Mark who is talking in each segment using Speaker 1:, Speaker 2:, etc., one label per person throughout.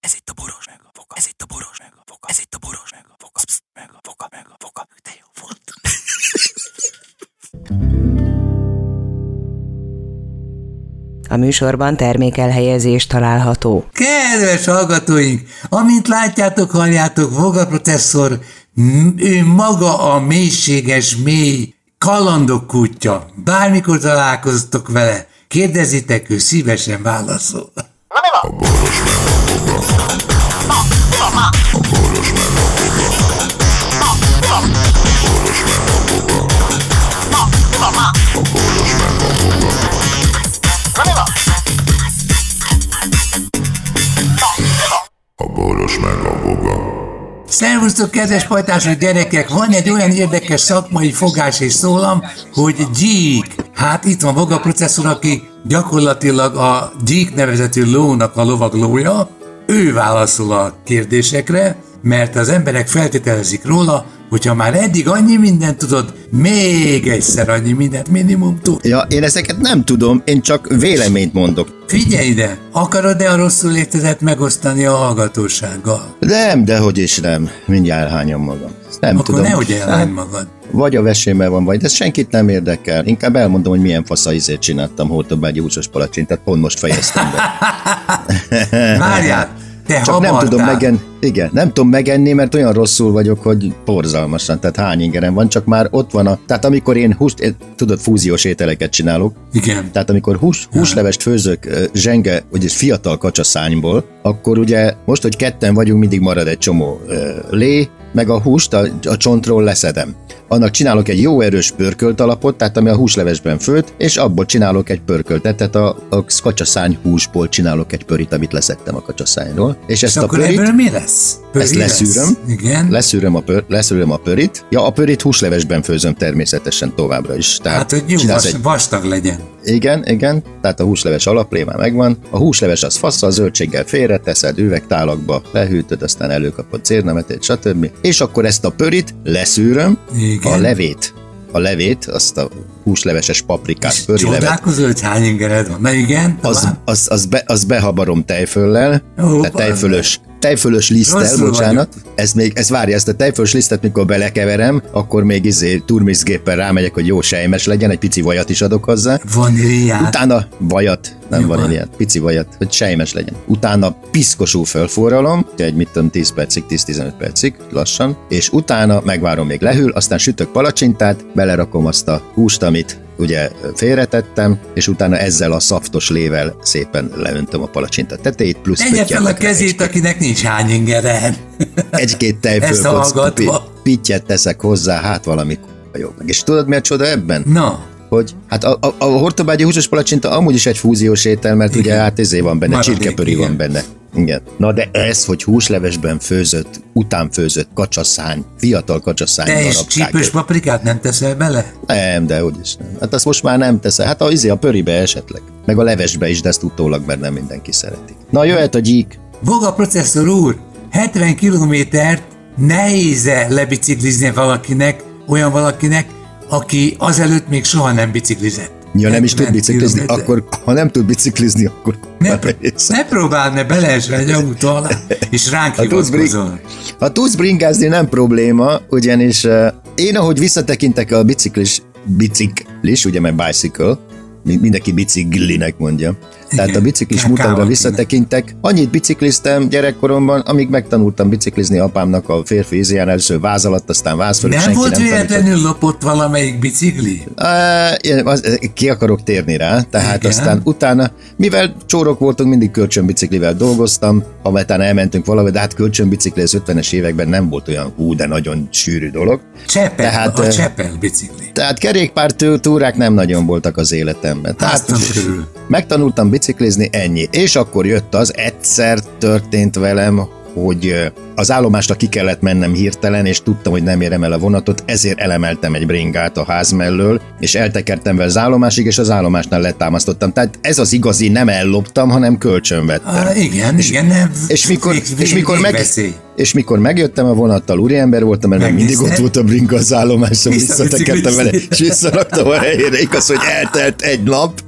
Speaker 1: Ez itt a boros meg a foka. Ez itt a boros meg a foka. Ez itt a boros meg a foka. Psz, meg a foka, meg a foka. De jó volt.
Speaker 2: A műsorban termékelhelyezés található.
Speaker 3: Kedves hallgatóink, amint látjátok, halljátok, Voga professzor, m- ő maga a mélységes, mély kalandok kutya. Bármikor találkoztok vele, kérdezitek, ő szívesen válaszol.
Speaker 4: A boros meg a boga.
Speaker 3: Szervusztok, kedves pajtások, gyerekek! Van egy olyan érdekes szakmai fogás és szólam, hogy gyík. Hát itt van maga a processzor, aki gyakorlatilag a gyík nevezetű lónak a lovaglója. Ő válaszol a kérdésekre, mert az emberek feltételezik róla, hogyha már eddig annyi mindent tudod, még egyszer annyi mindent minimum tud.
Speaker 5: Ja, én ezeket nem tudom, én csak véleményt mondok.
Speaker 3: Figyelj ide, akarod-e a rosszul létezet megosztani a hallgatósággal?
Speaker 5: Nem, dehogy is nem. Mindjárt elhányom magam. Nem
Speaker 3: Akkor
Speaker 5: tudom.
Speaker 3: nehogy elhagyd
Speaker 5: Hát,
Speaker 3: magad.
Speaker 5: Vagy a vesémmel van, vagy de senkit nem érdekel. Inkább elmondom, hogy milyen fasza izét csináltam Hortobágyi húsos palacsintát, pont most fejeztem be.
Speaker 3: Várjál, te
Speaker 5: Eh, Csak nem
Speaker 3: hamartál.
Speaker 5: tudom megen... Igen, nem tudom megenni, mert olyan rosszul vagyok, hogy borzalmasan, tehát hány ingerem van, csak már ott van a... Tehát amikor én húst, eh, tudod, fúziós ételeket csinálok,
Speaker 3: Igen.
Speaker 5: Tehát amikor hús, húslevest főzök ö, zsenge, vagyis fiatal kacsaszányból, akkor ugye most, hogy ketten vagyunk, mindig marad egy csomó ö, lé, meg a húst a, a csontról leszedem. Annak csinálok egy jó erős pörkölt alapot, tehát ami a húslevesben főtt, és abból csinálok egy pörköltet, tehát a, a kacsaszány húsból csinálok egy pörit, amit leszettem a kacsaszányról. És ezt
Speaker 3: És
Speaker 5: a
Speaker 3: akkor
Speaker 5: pörit...
Speaker 3: ebből mi lesz? Pöri
Speaker 5: Ezt leszűröm.
Speaker 3: Lesz. Igen. Lesz.
Speaker 5: Leszűröm a, pör, leszűröm a pörit. Ja, a pörit húslevesben főzöm természetesen továbbra is. Tehát
Speaker 3: Hát, hogy jó,
Speaker 5: csinálsz
Speaker 3: vas,
Speaker 5: egy-
Speaker 3: vastag legyen.
Speaker 5: igen, igen, tehát a húsleves alaplé már megvan. A húsleves az fasz, a zöldséggel félreteszed, üvegtálakba lehűtöd, aztán előkapod cérnemetét, stb. És akkor ezt a pörit leszűröm,
Speaker 3: Igen.
Speaker 5: a levét, a levét, azt a húsleveses paprikás pöri levet,
Speaker 3: Csodálkozol, hogy hány ingered van. Na igen,
Speaker 5: az,
Speaker 3: tovább.
Speaker 5: az, az, be, az behabarom tejföllel,
Speaker 3: Ó,
Speaker 5: tehát tejfölös, tejfölös liszttel,
Speaker 3: Rosszul
Speaker 5: bocsánat. Ez még, ez várja, ezt a tejfölös lisztet, mikor belekeverem, akkor még izé turmixgéppel rámegyek, hogy jó sejmes legyen, egy pici vajat is adok hozzá.
Speaker 3: Vaníliát.
Speaker 5: Utána vajat, nem
Speaker 3: Jó van.
Speaker 5: van ilyen, pici vajat, hogy sejmes legyen. Utána piszkosul felforralom, egy mit tudom, 10 percig, 10-15 percig, lassan, és utána megvárom még lehűl, aztán sütök palacsintát, belerakom azt a húst, amit ugye félretettem, és utána ezzel a szaftos lével szépen leöntöm a palacsinta tetejét, plusz
Speaker 3: Tegye fel a
Speaker 5: pöttyelek rá
Speaker 3: kezét,
Speaker 5: egy-
Speaker 3: akinek nincs hány ingered.
Speaker 5: egy-két
Speaker 3: Ezt
Speaker 5: tejfölkocka
Speaker 3: hallgatva.
Speaker 5: pi- pittyet teszek hozzá, hát valami k- jobb meg. És tudod, mi a csoda ebben?
Speaker 3: Na,
Speaker 5: hogy hát a, a, a hortobágyi húsos palacsinta amúgy is egy fúziós étel, mert igen. ugye hát ezé van benne,
Speaker 3: Maradék,
Speaker 5: csirkepöri
Speaker 3: igen.
Speaker 5: van benne. Igen. Na de ez, hogy húslevesben főzött, utánfőzött kacsaszány, fiatal kacsaszány
Speaker 3: te is
Speaker 5: darabkák.
Speaker 3: csípős paprikát nem teszel bele?
Speaker 5: Nem, de hogy is nem. Hát azt most már nem teszel. Hát a izé a pöribe esetleg. Meg a levesbe is, de ezt utólag, mert nem mindenki szereti. Na jöhet a gyík.
Speaker 3: Boga processzor úr, 70 kilométert nehéz-e lebiciklizni valakinek, olyan valakinek, aki azelőtt még soha nem biciklizett?
Speaker 5: Ja, nem is tud
Speaker 3: 70
Speaker 5: biciklizni,
Speaker 3: kilométer.
Speaker 5: akkor ha nem tud biciklizni, akkor
Speaker 3: Ne,
Speaker 5: nehéz.
Speaker 3: ne próbáld, ne beleesve egy autó alá, és ránk
Speaker 5: A tudsz,
Speaker 3: hivatkozol.
Speaker 5: Ha tudsz bringázni, nem probléma, ugyanis eh, én, ahogy visszatekintek a biciklis, biciklis, ugye mert bicycle, mi- mindenki biciklinek mondja. Tehát
Speaker 3: Igen,
Speaker 5: a biciklis
Speaker 3: KK
Speaker 5: mutamra
Speaker 3: van
Speaker 5: visszatekintek. Annyit bicikliztem gyerekkoromban, amíg megtanultam biciklizni apámnak a férfi ízján, először váz alatt, aztán váz fölött,
Speaker 3: Nem
Speaker 5: senki
Speaker 3: volt
Speaker 5: nem tanított.
Speaker 3: véletlenül lopott valamelyik bicikli?
Speaker 5: Á, én az- Ki akarok térni rá, tehát
Speaker 3: Igen.
Speaker 5: Igen. aztán utána, mivel csórok voltunk, mindig kölcsönbiciklivel dolgoztam, ha utána elmentünk valahol, de hát kölcsönbicikli az 50-es években nem volt olyan hú, de nagyon sűrű dolog.
Speaker 3: Csepel,
Speaker 5: Tehát,
Speaker 3: a
Speaker 5: eh,
Speaker 3: Csepel bicikli.
Speaker 5: Tehát kerékpártúrák nem nagyon voltak az életemben. Tehát
Speaker 3: Aztán körül.
Speaker 5: megtanultam biciklizni, ennyi. És akkor jött az, egyszer történt velem, hogy ö, az állomásra ki kellett mennem hirtelen, és tudtam, hogy nem érem el a vonatot, ezért elemeltem egy bringát a ház mellől, és eltekertem vele az állomásig, és az állomásnál letámasztottam. Tehát ez az igazi, nem elloptam, hanem kölcsönvettem.
Speaker 3: Ah, igen, igen, nem.
Speaker 5: hát, és mikor-
Speaker 3: vég-
Speaker 5: és mikor meg-
Speaker 3: végveszély.
Speaker 5: és mikor megjöttem a vonattal, úriember voltam, mert még mindig
Speaker 3: Megnézted?
Speaker 5: ott volt a bringa az állomáson,
Speaker 3: Vissza
Speaker 5: visszatekertem vele,
Speaker 3: biciklizni.
Speaker 5: és visszaraktam a helyére. Igaz, hogy eltelt egy nap,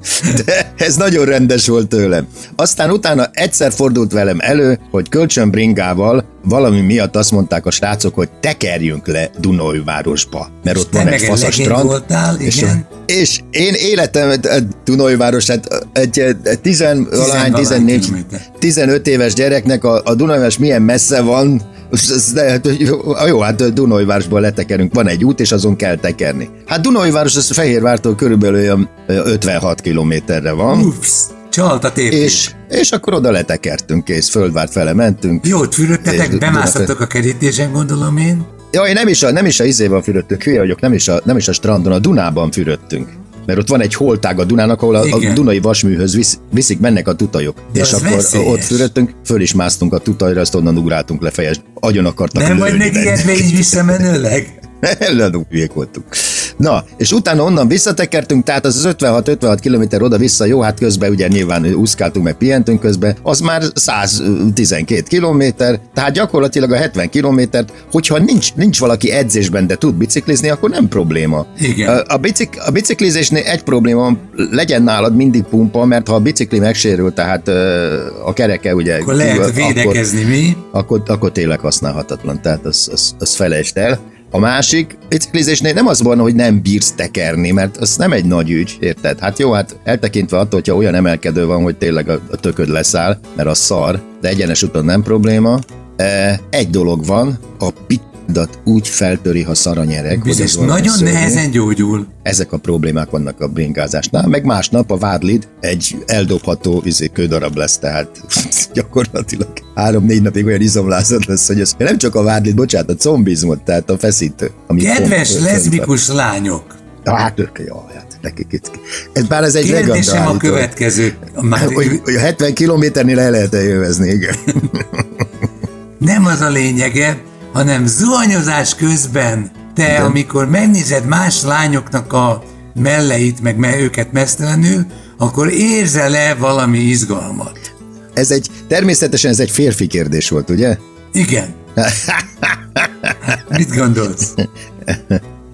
Speaker 5: de ez nagyon rendes volt tőlem. Aztán utána egyszer fordult velem elő, hogy kölcsön bringával valami miatt azt mondták a srácok, hogy tekerjünk le Dunajvárosba, mert ott
Speaker 3: te
Speaker 5: van egy
Speaker 3: meg egy
Speaker 5: fasz a
Speaker 3: legény
Speaker 5: strand.
Speaker 3: voltál,
Speaker 5: és,
Speaker 3: igen.
Speaker 5: és én életem hát, Dunajváros, hát egy, egy 10 alány, 14,
Speaker 3: kilométer.
Speaker 5: 15 éves gyereknek a, a Dunajváros milyen messze van, Ez- de, hát, jó, jó, hát Dunajvárosból letekerünk, van egy út, és azon kell tekerni. Hát Dunajváros, az Fehérvártól körülbelül olyan ö, 56 kilométerre van,
Speaker 3: Ups, csalt a tépét.
Speaker 5: és, és akkor oda letekertünk, kész, Földvárt fele mentünk.
Speaker 3: Jót
Speaker 5: És-
Speaker 3: fürödtetek, bemásztatok a kerítésen, gondolom én.
Speaker 5: Ja, én nem is a, nem is a izében fürödtünk, hülye vagyok, nem is, a, nem is a strandon, a Dunában fürödtünk. Mert ott van egy holtág a Dunának, ahol a, a
Speaker 3: Igen.
Speaker 5: Dunai vasműhöz visz, viszik, mennek a tutajok.
Speaker 3: De
Speaker 5: és
Speaker 3: az
Speaker 5: akkor
Speaker 3: veszélyes.
Speaker 5: ott fürödtünk, föl is másztunk a tutajra, azt onnan ugráltunk le fejest. Agyon akartak
Speaker 3: Nem vagy
Speaker 5: lőni
Speaker 3: neki
Speaker 5: bennünket.
Speaker 3: ijedve így visszamenőleg?
Speaker 5: Ellenünk hülyék voltunk. Na, és utána onnan visszatekertünk, tehát az az 56-56 km oda-vissza, jó, hát közben ugye nyilván úszkáltunk, meg pihentünk közben, az már 112 km, tehát gyakorlatilag a 70 kilométert, hogyha nincs, nincs valaki edzésben, de tud biciklizni, akkor nem probléma.
Speaker 3: Igen.
Speaker 5: A, a, bicik, a biciklizésnél egy probléma, van, legyen nálad mindig pumpa, mert ha a bicikli megsérül, tehát ö, a kereke ugye...
Speaker 3: Akkor lehet
Speaker 5: kívül-
Speaker 3: védekezni, mi?
Speaker 5: akkor, akkor tényleg használhatatlan, tehát az, az, az felejtsd el. A másik biciklizésnél nem az van, hogy nem bírsz tekerni, mert az nem egy nagy ügy, érted? Hát jó, hát eltekintve attól, hogyha olyan emelkedő van, hogy tényleg a, a tököd leszáll, mert az szar, de egyenes úton nem probléma. E, egy dolog van, a pidat úgy feltöri, ha szar a nyereg, hogy
Speaker 3: Biztos
Speaker 5: az valami
Speaker 3: nagyon
Speaker 5: szörnyű.
Speaker 3: nehezen gyógyul.
Speaker 5: Ezek a problémák vannak a bringázásnál, meg másnap a vádlid egy eldobható izé, kődarab lesz, tehát gyakorlatilag három-négy napig olyan izomlázat lesz, hogy ez nem csak a vádlid, bocsánat, a combizmot, tehát a feszítő. Ami
Speaker 3: Kedves
Speaker 5: pont-
Speaker 3: leszbikus lányok,
Speaker 5: Ja, Hát, ők- jó, hát nekik itt. Ez bár ez egy
Speaker 3: kérdésem a
Speaker 5: legendális dolog.
Speaker 3: következő. Már
Speaker 5: Hogy, hogy a 70 kilométernél el lehet élvezni, igen.
Speaker 3: nem az a lényege, hanem zuhanyozás közben te, De. amikor megnézed más lányoknak a melleit, meg me- őket mesztelenül, akkor érzel-e valami izgalmat?
Speaker 5: Ez egy, természetesen ez egy férfi kérdés volt, ugye?
Speaker 3: Igen. Mit gondolsz?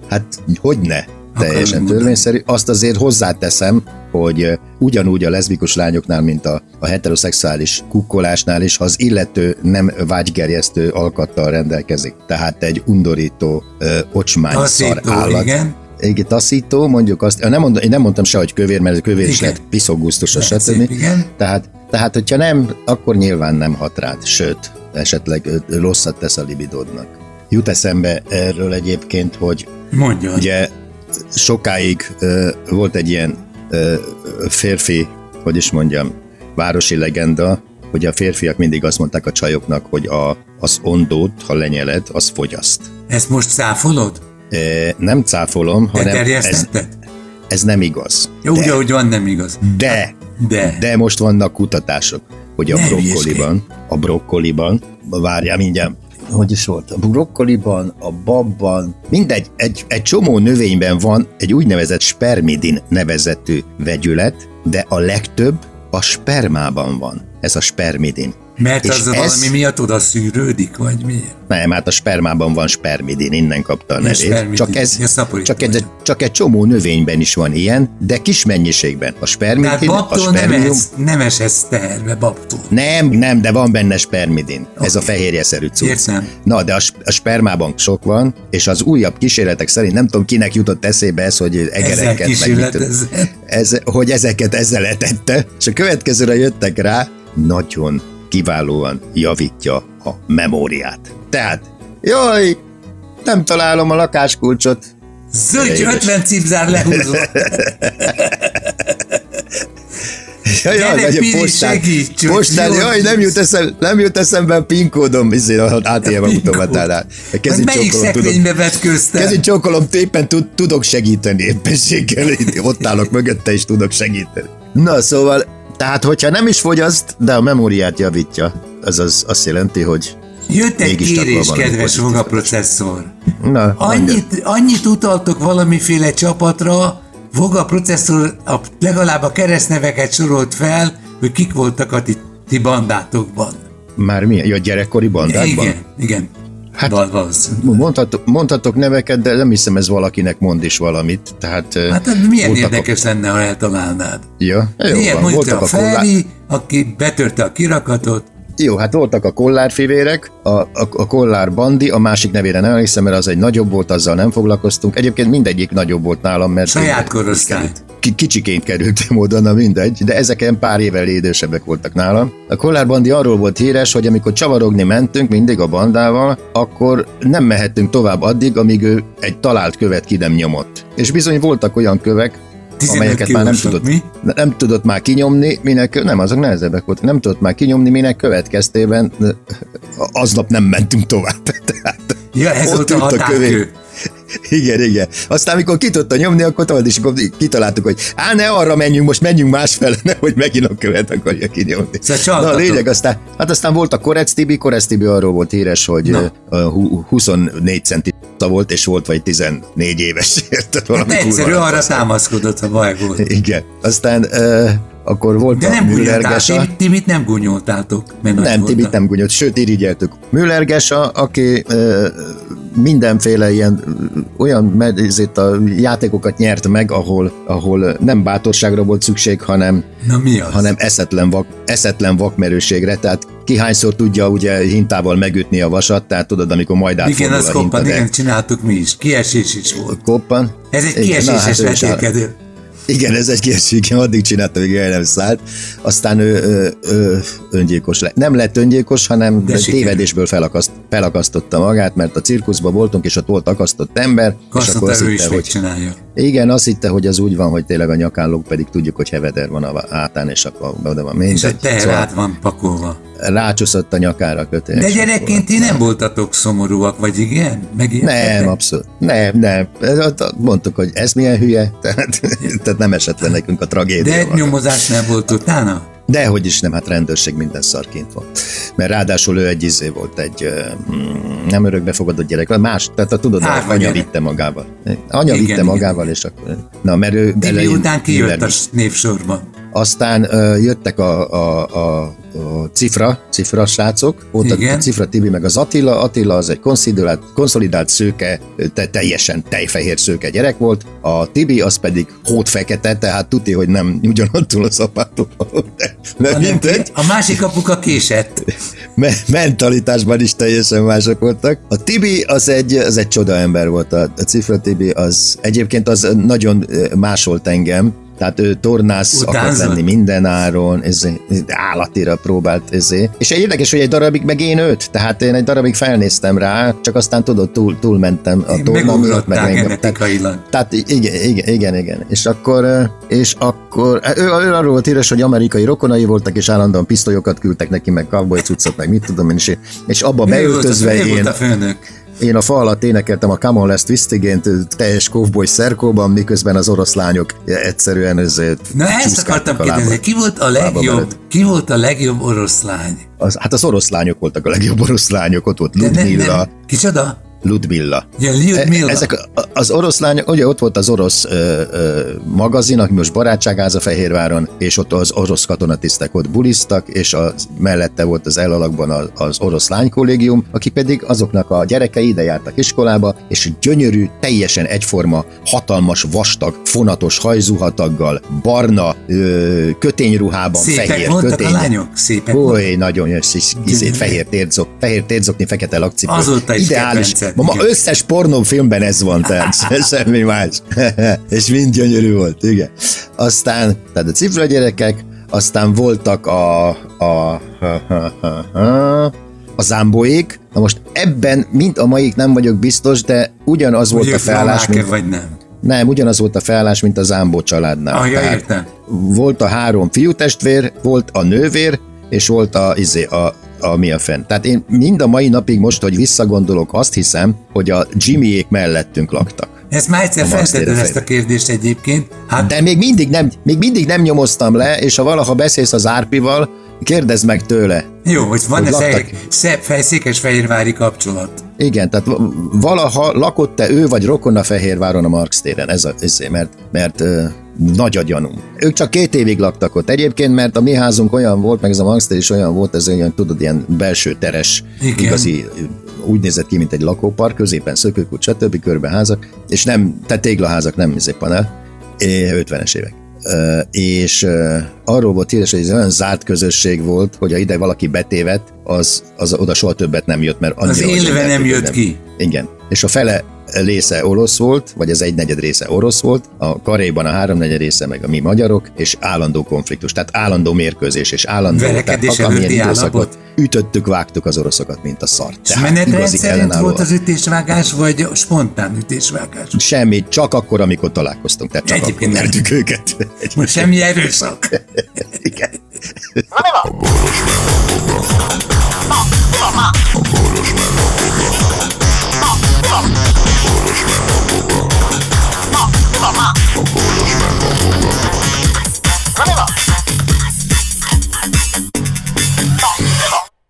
Speaker 5: Hát hogy ne?
Speaker 3: Akarom
Speaker 5: Teljesen
Speaker 3: mondani.
Speaker 5: törvényszerű. Azt azért hozzáteszem, hogy ö, ugyanúgy a leszbikus lányoknál, mint a, a heteroszexuális kukkolásnál is, ha az illető nem vágygerjesztő alkattal rendelkezik. Tehát egy undorító, ö, ocsmány szar
Speaker 3: Taszító,
Speaker 5: állat.
Speaker 3: igen.
Speaker 5: Igen, taszító, mondjuk azt, én nem, mondom, én nem mondtam se, hogy kövér, mert kövér is
Speaker 3: Igen.
Speaker 5: lehet piszogusztusos,
Speaker 3: Lehet
Speaker 5: stb.
Speaker 3: szép, igen.
Speaker 5: Tehát, tehát, hogyha nem, akkor nyilván nem hat rád, sőt, esetleg ö, ö, rosszat tesz a libidódnak. Jut eszembe erről egyébként, hogy
Speaker 3: Mondjon.
Speaker 5: Ugye sokáig ö, volt egy ilyen ö, férfi, hogy is mondjam, városi legenda, hogy a férfiak mindig azt mondták a csajoknak, hogy a, az ondót, ha lenyeled, az fogyaszt.
Speaker 3: Ezt most száfolod?
Speaker 5: Ö, nem cáfolom,
Speaker 3: Te
Speaker 5: hanem ez,
Speaker 3: terjesztetted?
Speaker 5: ez nem igaz.
Speaker 3: Ja, Úgy, ahogy van, nem igaz.
Speaker 5: De,
Speaker 3: De.
Speaker 5: de most vannak kutatások, hogy a
Speaker 3: Ne
Speaker 5: brokkoliban, a brokkoliban, várjál mindjárt, hogy is volt, a brokkoliban, a babban, mindegy, egy, egy csomó növényben van egy úgynevezett spermidin nevezetű vegyület, de a legtöbb a spermában van, ez a spermidin.
Speaker 3: Mert
Speaker 5: És
Speaker 3: az
Speaker 5: ez-
Speaker 3: valami miatt oda szűrődik, vagy miért?
Speaker 5: Nem, hát a spermában van spermidin, innen kapta a nevét.
Speaker 3: spermidin.
Speaker 5: Csak ez,
Speaker 3: Ja, szaporító
Speaker 5: csak, ez,
Speaker 3: vagyok.
Speaker 5: csak egy csomó növényben is van ilyen, de kis mennyiségben. A
Speaker 3: Tehát
Speaker 5: spermidin, a
Speaker 3: babtól nem,
Speaker 5: spermium...
Speaker 3: ez, nem eshetsz teherbe, babtól.
Speaker 5: Nem, nem, de van benne spermidin. Okay. Ez a
Speaker 3: Oké.
Speaker 5: fehérjeszerű cucc.
Speaker 3: Értem.
Speaker 5: Na, de a, sp- a spermában sok van, és az újabb kísérletek szerint nem tudom, kinek jutott eszébe ez, hogy
Speaker 3: Ezzel
Speaker 5: egereket meg mit tudom-
Speaker 3: kísérletezett.
Speaker 5: ez, hogy ezeket ezzel etette, és a következőre jöttek rá, nagyon kiválóan javítja a memóriát. Tehát, jaj, nem találom a lakáskulcsot,
Speaker 3: Zögy
Speaker 5: Édes.
Speaker 3: 50 cipzár lehúzva.
Speaker 5: Jaj, jaj,
Speaker 3: Gyere,
Speaker 5: vagy
Speaker 3: Pili,
Speaker 5: a postán,
Speaker 3: segíts, hogy
Speaker 5: postán
Speaker 3: jól
Speaker 5: jaj, nem jut, eszem, nem jut eszembe a PIN kódom, izé, a ATM
Speaker 3: PIN kód.
Speaker 5: automatánál. A
Speaker 3: Vagy
Speaker 5: Kezin
Speaker 3: melyik
Speaker 5: csókolom, tudok,
Speaker 3: szekrénybe vetközte?
Speaker 5: kezin csókolom, éppen tud, tudok segíteni éppenséggel, így ott állok mögötte és tudok segíteni. Na, szóval, tehát hogyha nem is fogyaszt, de a memóriát javítja, azaz azt jelenti, hogy
Speaker 3: Jött egy
Speaker 5: Mégis csak
Speaker 3: kérés,
Speaker 5: van valami
Speaker 3: kedves
Speaker 5: pozitív.
Speaker 3: vogaprocesszor.
Speaker 5: na, mondja.
Speaker 3: Annyit, annyit utaltok valamiféle csapatra, Voga processzor a, legalább a keresztneveket sorolt fel, hogy kik voltak a ti, ti bandátokban.
Speaker 5: Már milyen? Ja, gyerekkori bandákban?
Speaker 3: Igen, igen.
Speaker 5: Hát-
Speaker 3: Hát, Val- valószínűleg.
Speaker 5: Mondhatok, mondhatok neveket, de nem hiszem ez valakinek mond is valamit. Tehát, eh,
Speaker 3: Hát ez milyen
Speaker 5: voltak
Speaker 3: érdekes lenne, ha eltalálnád.
Speaker 5: Ja, Hát jó,
Speaker 3: Ilyet
Speaker 5: van,
Speaker 3: mondta
Speaker 5: voltak
Speaker 3: a
Speaker 5: a kollár,
Speaker 3: Feri, aki betörte a kirakatot.
Speaker 5: jó, hát voltak a kollárfivérek, a, a, a kollár bandi, a másik nevére nem emlékszem, mert az egy nagyobb volt, azzal nem foglalkoztunk. Egyébként mindegyik nagyobb volt nálam, mert
Speaker 3: Saját korosztály.
Speaker 5: ki- kicsiként került módon, na mindegy, de ezeken pár évvel idősebbek voltak nálam. A Kollár Bandi arról volt híres, hogy amikor csavarogni mentünk mindig a bandával, akkor nem mehettünk tovább addig, amíg ő egy talált követ ki nem nyomott. És bizony voltak olyan kövek,
Speaker 3: 15
Speaker 5: amelyeket már nem
Speaker 3: kilósak,
Speaker 5: tudott,
Speaker 3: mi?
Speaker 5: nem tudott már kinyomni, minek, nem, azok nehezebbek voltak, nem tudott már kinyomni, minek következtében ö, aznap nem mentünk tovább. Tehát
Speaker 3: Ja, ez
Speaker 5: Ott
Speaker 3: volt a
Speaker 5: ült a
Speaker 3: határkő.
Speaker 5: kövér. igen, igen. Aztán, amikor ki tudta nyomni, akkor tovább is akkor kitaláltuk, hogy á, ne arra menjünk, most menjünk másfele, nehogy megint a követ akarja kinyomni.
Speaker 3: Szóval
Speaker 5: Na, a
Speaker 3: csaltatok.
Speaker 5: lényeg, aztán, hát aztán volt a Korec Tibi, Korec Tibi arról volt híres, hogy
Speaker 3: Na.
Speaker 5: ö, ö, hu- 24 centi volt, és volt vagy 14 éves, érted? Valami
Speaker 3: De
Speaker 5: kurva
Speaker 3: Hát egyszerű
Speaker 5: nagy
Speaker 3: arra
Speaker 5: fasz.
Speaker 3: támaszkodott, ha baj volt.
Speaker 5: Igen. Aztán ö, akkor volt
Speaker 3: De
Speaker 5: a
Speaker 3: nem
Speaker 5: Müller
Speaker 3: gúnyoltál,
Speaker 5: Gesa.
Speaker 3: Ti- Timit nem gúnyoltátok. Mert nagy
Speaker 5: Nem,
Speaker 3: volt
Speaker 5: Tibit
Speaker 3: a-
Speaker 5: nem gúnyolt, sőt, irigyeltük. Müller Gesa, aki ö, mindenféle ilyen, ö, olyan med- ezért a játékokat nyert meg, ahol, ahol nem bátorságra volt szükség, hanem,
Speaker 3: Na mi az?
Speaker 5: hanem eszetlen, vak, eszetlen vakmerőségre, tehát ki hányszor tudja ugye hintával megütni a vasat, tehát tudod, amikor majd
Speaker 3: igen,
Speaker 5: átfordul
Speaker 3: az
Speaker 5: a hinta,
Speaker 3: koppan,
Speaker 5: de
Speaker 3: igen, csináltuk mi is. Kiesés is volt.
Speaker 5: koppan.
Speaker 3: Ez egy
Speaker 5: Igen, na, hát
Speaker 3: kieséses
Speaker 5: ő is áll-
Speaker 3: vetélkedő.
Speaker 5: igen, ez egy kiesik, addig csinálta, amíg el nem szállt. Aztán ő, ő, ő öngyilkos lett. Nem lett öngyilkos, hanem
Speaker 3: De
Speaker 5: De
Speaker 3: sikerült.
Speaker 5: tévedésből felakaszt, felakasztotta magát, mert a cirkuszban voltunk, és ott volt akasztott ember, és akkor
Speaker 3: Kasszat
Speaker 5: azt
Speaker 3: ő
Speaker 5: hitte,
Speaker 3: is
Speaker 5: hogy,
Speaker 3: megcsinálja.
Speaker 5: igen, azt hitte, hogy az úgy van, hogy tényleg a nyakánlók pedig tudjuk, hogy heveder van a vá- hátán, és akkor oda van mindegy. Szóval
Speaker 3: És a teher át van pakolva.
Speaker 5: rácsúszott a nyakára a kötél.
Speaker 3: De
Speaker 5: és
Speaker 3: gyerekként ti nem voltatok szomorúak, vagy igen? Megijedtetek?
Speaker 5: Nem, abszolút. Nem, nem. Ez- ott Mondtuk, hogy ez milyen hülye, tehát, tehát nem esett le nekünk a tragédia.
Speaker 3: De nyomozás nem volt utána?
Speaker 5: Dehogy is nem, hát rendőrség minden szarként van. Mert ráadásul ő egy izé volt, egy ö, mm, nem örökbefogadott gyerek, vagy más, tehát a tudod,
Speaker 3: Árva
Speaker 5: a anya
Speaker 3: gyerek.
Speaker 5: vitte magával. Anya
Speaker 3: Hát, Igen,
Speaker 5: vitte
Speaker 3: igen,
Speaker 5: magával, és akkor... Na, mert ő
Speaker 3: Tibi
Speaker 5: elején
Speaker 3: után kijött a
Speaker 5: Müller-
Speaker 3: s- névsorban.
Speaker 5: Aztán ö, jöttek a, a, a, a cifra, cifra srácok, voltak
Speaker 3: Igen.
Speaker 5: a cifra Tibi, meg az Attila. Attila az egy konszolidált, konszolidált szőke, ö, te, teljesen tejfehér szőke gyerek volt, a Tibi az pedig hódfekete, tehát tuti, hogy nem ugyanattul az apától, de, de
Speaker 3: Hanem ki-
Speaker 5: mindegy.
Speaker 3: A másik apuka késett.
Speaker 5: Me- mentalitásban is teljesen mások voltak. A Tibi az egy, az egy csoda ember volt, a, a Cifra Tibi az egyébként az nagyon ö, másolt engem, tehát ő tornász akart
Speaker 3: Utánzott?
Speaker 5: lenni minden áron, ez állatira próbált ezé. És érdekes, hogy egy darabig meg én őt, tehát én egy darabig felnéztem rá, csak aztán tudod, túl, túlmentem a torna miatt, meg
Speaker 3: Megugrottál
Speaker 5: engem. Tehát
Speaker 3: genetikailag.
Speaker 5: tehát i- igen, igen, igen, igen. És akkor, ö, és akkor hát ő, ő arról volt híres, hogy amerikai rokonai voltak, és állandóan pisztolyokat küldtek neki, meg cowboy cuccot, meg mit tudom én, és, és abba
Speaker 3: Ő volt a-
Speaker 5: beöltözve
Speaker 3: Ő volt
Speaker 5: én,
Speaker 3: a főnök.
Speaker 5: én a fa alatt énekeltem a Come on, Last Twistigént teljes kovboly szerkóban, miközben az orosz lányok egyszerűen ezért
Speaker 3: Na ezt
Speaker 5: csúszkáltak
Speaker 3: akartam
Speaker 5: a lábon.
Speaker 3: kérdezni, ki volt a
Speaker 5: lába
Speaker 3: legjobb,
Speaker 5: mellett.
Speaker 3: ki volt a legjobb oroszlány?
Speaker 5: Az, hát az orosz lányok voltak a legjobb orosz lányok, ott volt
Speaker 3: De nem,
Speaker 5: Ludmilla.
Speaker 3: nem. Kicsoda?
Speaker 5: Ludmilla.
Speaker 3: Ja, Lyudmilla.
Speaker 5: E- Ezek a- az orosz lányok, ugye ott volt az orosz ö, ö, magazin, aki most barátságháza Fehérváron, és ott az orosz katonatisztek ott buliztak, és az, mellette volt az elalakban az, az orosz lánykollégium, aki pedig azoknak a gyerekei ide jártak iskolába, és gyönyörű, teljesen egyforma, hatalmas, vastag, fonatos hajzuhataggal, barna, ö, kötényruhában,
Speaker 3: Szépek
Speaker 5: fehér
Speaker 3: voltak a
Speaker 5: kötényen.
Speaker 3: lányok? Szépek voltak?
Speaker 5: Oly, nagyon jó, és izét, fehér, térzok, fehér térzokni, fekete lakcipő.
Speaker 3: Azóta is
Speaker 5: Ideális.
Speaker 3: kedvenced,
Speaker 5: Ma, ma
Speaker 3: igen.
Speaker 5: összes pornófilmben ez van, tehát se- semmi más. és mind gyönyörű volt, igen. Aztán, tehát a cifra gyerekek, aztán voltak a, a, a, a zámboék, Na most ebben, mint a maik nem vagyok biztos, de ugyanaz volt
Speaker 3: Hogy
Speaker 5: a
Speaker 3: ők
Speaker 5: felállás,
Speaker 3: romák-e
Speaker 5: mint,
Speaker 3: vagy nem?
Speaker 5: nem, ugyanaz volt a felállás, mint a Zámbó családnál.
Speaker 3: Ah, ja,
Speaker 5: Tehát
Speaker 3: értem.
Speaker 5: Volt a három fiútestvér, volt a nővér, és volt a, izé, a, a mi a fent. Tehát én mind a mai napig most, hogy visszagondolok, azt hiszem, hogy a Jimmyék mellettünk laktak.
Speaker 3: Ezt már egyszer
Speaker 5: A Marx
Speaker 3: feltetted
Speaker 5: térre
Speaker 3: ezt a kérdést egyébként. Hát
Speaker 5: De még mindig, nem, még mindig nem nyomoztam le, és ha valaha beszélsz az Árpival, kérdezd meg tőle.
Speaker 3: jó, hogy van
Speaker 5: hogy
Speaker 3: ez
Speaker 5: laktak-
Speaker 3: egy szebb fej- székesfehérvári kapcsolat.
Speaker 5: Igen, tehát va- valaha lakott-e ő vagy rokona Fehérváron a Marx téren? Ez a, ez, mert, mert ö, Nagy a gyanúm. Ők csak két évig laktak ott egyébként, mert a mi házunk olyan volt, meg ez a hangster is olyan volt, ez olyan, tudod, ilyen belső teres,
Speaker 3: Igen.
Speaker 5: igazi, úgy nézett ki, mint egy lakópark, középen szökőkút, stb. körbe házak, és nem, tehát téglaházak, nem izé panel, É, 50-es évek. Ö, és ö, arról volt híres, hogy ez olyan zárt közösség volt, hogy ha ide valaki betévedt, az, az oda soha többet nem jött, mert
Speaker 3: Az
Speaker 5: annyira...
Speaker 3: élve
Speaker 5: olyan
Speaker 3: nem jött
Speaker 5: nem-
Speaker 3: ki.
Speaker 5: igen. És a fele része orosz volt, vagy az egynegyed része orosz volt, a Karéban a háromnegyed része meg a mi magyarok, és állandó konfliktus, tehát állandó mérkőzés, és állandó
Speaker 3: Verekedés
Speaker 5: tehát akármilyen
Speaker 3: előtti
Speaker 5: időszakban
Speaker 3: állapot.
Speaker 5: ütöttük, vágtuk az oroszokat, mint a szart.
Speaker 3: És
Speaker 5: Tehát
Speaker 3: menetrend
Speaker 5: igazi
Speaker 3: szerint
Speaker 5: ellenálló-
Speaker 3: volt az ütésvágás, vagy spontán ütésvágás?
Speaker 5: Semmi, csak akkor, amikor találkoztunk, tehát csak
Speaker 3: Egyébként
Speaker 5: akkor
Speaker 3: nem.
Speaker 5: mertük őket.
Speaker 3: Most semmi erőszak.
Speaker 5: Igen.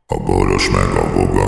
Speaker 4: A boros meg a boga.